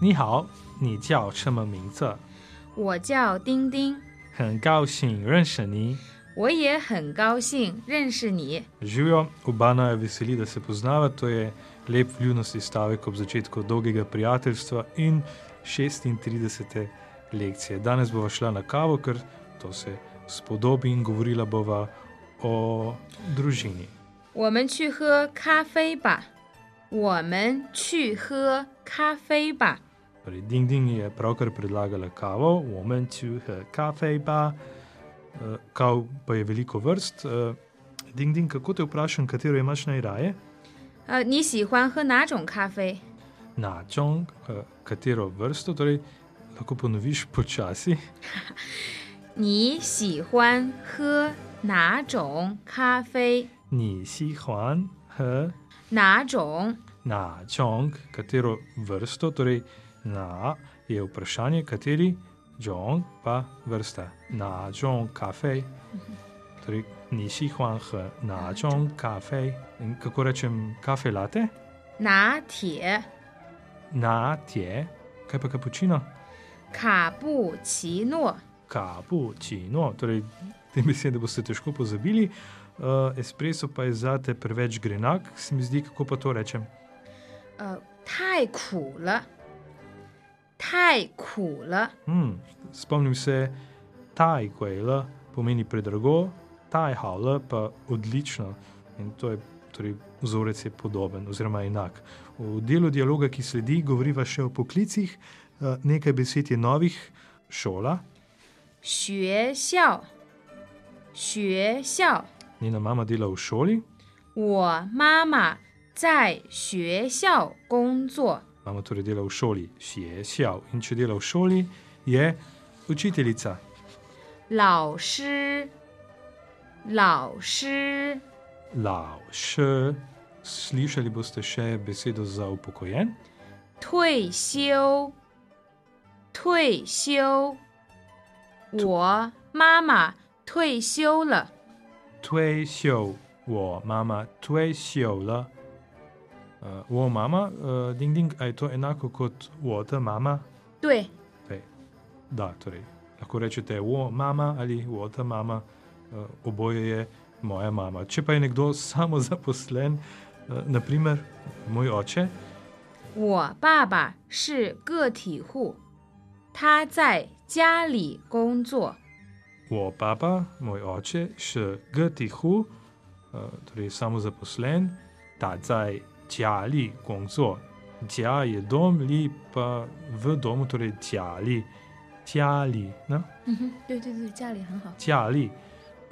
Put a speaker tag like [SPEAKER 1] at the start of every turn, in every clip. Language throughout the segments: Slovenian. [SPEAKER 1] 你好，你叫什么名字？
[SPEAKER 2] 我叫丁丁，
[SPEAKER 1] 很高兴认识你。
[SPEAKER 2] 我也很高兴认识你。
[SPEAKER 1] Živijo, oba naju veseli, da se poznava. To je lep vljudnostni stavek ob začetku dolgega prijateljstva in 36. lekcije. Danes bova šla na kavo, ker to se spodobi in govorila bova o družini.
[SPEAKER 2] 我们去喝咖啡吧。我们去喝咖啡吧。
[SPEAKER 1] Torej, Ding Ding je pravkar predlagala kavo, Woman to her Cafe Bar, Eh, kav pa je veliko vrst. Eh, Ding Ding, kako te vprašam, katero imaš najraje?
[SPEAKER 2] 呃，你喜欢喝哪种咖啡？
[SPEAKER 1] Na čong, eh, katero vrsto, torej lahko ponoviš počasi.
[SPEAKER 2] 你喜欢喝哪种咖啡？
[SPEAKER 1] Ni si huan, he,
[SPEAKER 2] 哪种？
[SPEAKER 1] na čong, katero vrsto, torej na je vprašanje, kateri čong pa vrsta. Na čong kafe. Torej, nisi huan, he, na čong kafe. In kako rečem, kafe late?
[SPEAKER 2] 拿铁、
[SPEAKER 1] Na tje, kaj pa kapučino?
[SPEAKER 2] 卡布奇诺、
[SPEAKER 1] Kapučino, torej te besede boste težko pozabili. Uh, espresso pa je zate preveč grenak, se mi zdi, kako pa to rečem.
[SPEAKER 2] 呃，太苦了，太苦了。
[SPEAKER 1] Hmm, spomnim se, taj kojela pomeni predrago, taj haula pa odlično. In to je torej vzorec je podoben oziroma enak. V delu dialoga, ki sledi, govoriva še o poklicih, eh, nekaj besed je novih, šola.
[SPEAKER 2] 学校，学校，
[SPEAKER 1] Njena mama dela v šoli,
[SPEAKER 2] 我妈妈在学校工作。
[SPEAKER 1] mama torej dela v šoli, si je sjav. In če dela v šoli, je učiteljica.
[SPEAKER 2] 老师，老师，
[SPEAKER 1] Lao še, slišali boste še besedo za upokojen.
[SPEAKER 2] 退休，退休。我妈妈退休了，
[SPEAKER 1] 退休，我妈妈退休了。呃，我妈妈，呃，丁丁，哎，to enako kot 我的妈妈。
[SPEAKER 2] 对，
[SPEAKER 1] 对，da, torej, lahko rečete o mama ali o ta mama, eh, oboje je moja mama. Če pa je nekdo samo zaposlen, eh, naprimer moj oče,
[SPEAKER 2] 我爸爸是个体户，他在家里工作。
[SPEAKER 1] o papa, moj oče, še gtihu, torej samo zaposlen, ta zdaj tjali gongzo. Tja je dom, li pa v domu, torej tjali, tjali, na?
[SPEAKER 2] 嗯哼，对对对，家里很好。
[SPEAKER 1] tjali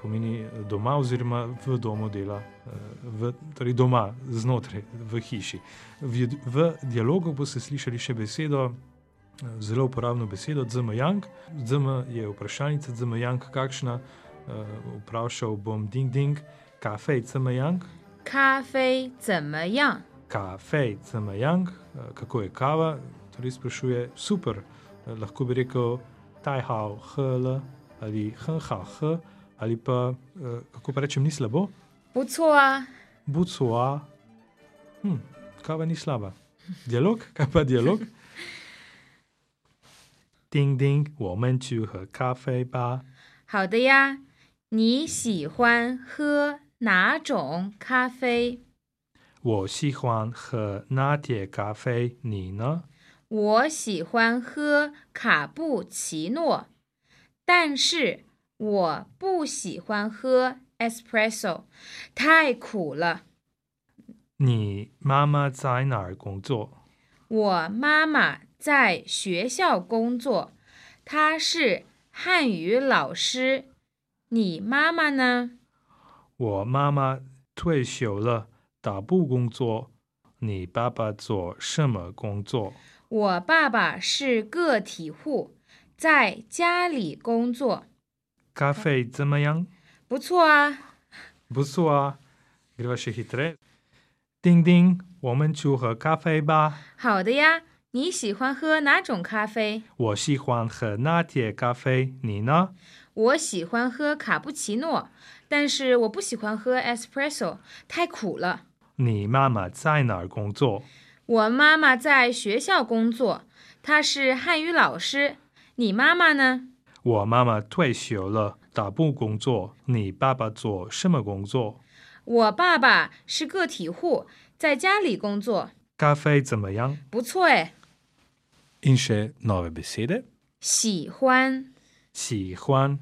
[SPEAKER 1] pomeni eh, doma oziroma v domu dela, eh, v, torej doma, znotraj, v hiši. V, v dialogu boste slišali še besedo, eh, zelo uporabno besedo dzmjank. Dzm je vprašalnica, dzmjank kakšna, eh, vprašal bom ding ding, kafej dzmjank,
[SPEAKER 2] 咖啡怎么样？
[SPEAKER 1] kafej dzmjank, eh, kako je kava, torej sprašuje super, Eh, lahko bi rekel tajhao hl ali hnha h ali pa, eh, kako pa rečem, ni slabo.
[SPEAKER 2] 不错啊，
[SPEAKER 1] Bucua, hm, kava ni slaba. Dialog, kaj pa dialog? Ding ding, 我们去喝咖啡吧。
[SPEAKER 2] 好的呀。你喜欢喝哪种咖啡？
[SPEAKER 1] 我喜欢喝拿铁咖啡，你呢？
[SPEAKER 2] 我喜欢喝卡布奇诺，但是我不喜欢喝 espresso，太苦了。
[SPEAKER 1] 你妈妈在哪儿工作？
[SPEAKER 2] 我妈妈在学校工作，她是汉语老师。你妈妈呢？
[SPEAKER 1] 我妈妈退休了，打不工作。你爸爸做什么工作？
[SPEAKER 2] 我爸爸是个体户，在家里工作，
[SPEAKER 1] 咖啡怎么样？啊
[SPEAKER 2] 不错啊。
[SPEAKER 1] Busua, greva še hitreje. Ding ding, 我们去喝咖啡吧。
[SPEAKER 2] 好的呀，你喜欢喝哪种咖啡？
[SPEAKER 1] 我喜欢喝拿铁咖啡，你呢？
[SPEAKER 2] 我喜欢喝卡布奇诺，但是我不喜欢喝 espresso，太苦了。
[SPEAKER 1] 你妈妈在哪儿工作？
[SPEAKER 2] 我妈妈在学校工作，她是汉语老师。你妈妈呢？
[SPEAKER 1] 我妈妈退休了，打不工作。你爸爸做什么工作？
[SPEAKER 2] 我爸爸是个体户，在家里工作。
[SPEAKER 1] 咖啡怎么样？
[SPEAKER 2] 不错哎，
[SPEAKER 1] In še nove besede.
[SPEAKER 2] 喜欢
[SPEAKER 1] 喜欢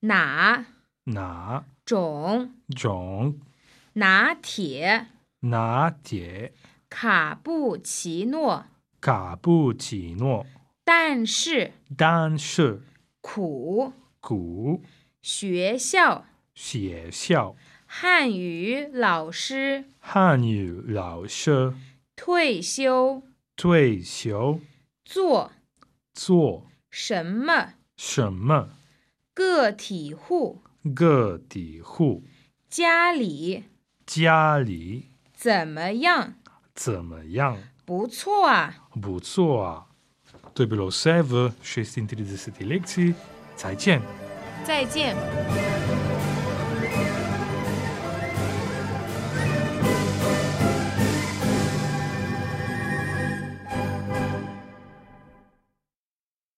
[SPEAKER 2] 哪
[SPEAKER 1] 哪
[SPEAKER 2] 种
[SPEAKER 1] 种
[SPEAKER 2] 拿铁
[SPEAKER 1] 拿铁
[SPEAKER 2] 卡布奇诺，
[SPEAKER 1] 卡布奇诺，
[SPEAKER 2] 但是
[SPEAKER 1] 但是
[SPEAKER 2] 苦
[SPEAKER 1] 古
[SPEAKER 2] 学校
[SPEAKER 1] 学校
[SPEAKER 2] 汉语老师
[SPEAKER 1] 汉语老师
[SPEAKER 2] 退休
[SPEAKER 1] 退休
[SPEAKER 2] 做
[SPEAKER 1] 做
[SPEAKER 2] 什么
[SPEAKER 1] 什么？
[SPEAKER 2] 个体户
[SPEAKER 1] 个体户
[SPEAKER 2] 家里
[SPEAKER 1] 家里
[SPEAKER 2] 怎么样？
[SPEAKER 1] 怎么样？
[SPEAKER 2] 不错啊，
[SPEAKER 1] 不错啊。To je bilo vse v 36. lekciji. Cajtjen!
[SPEAKER 2] 再见。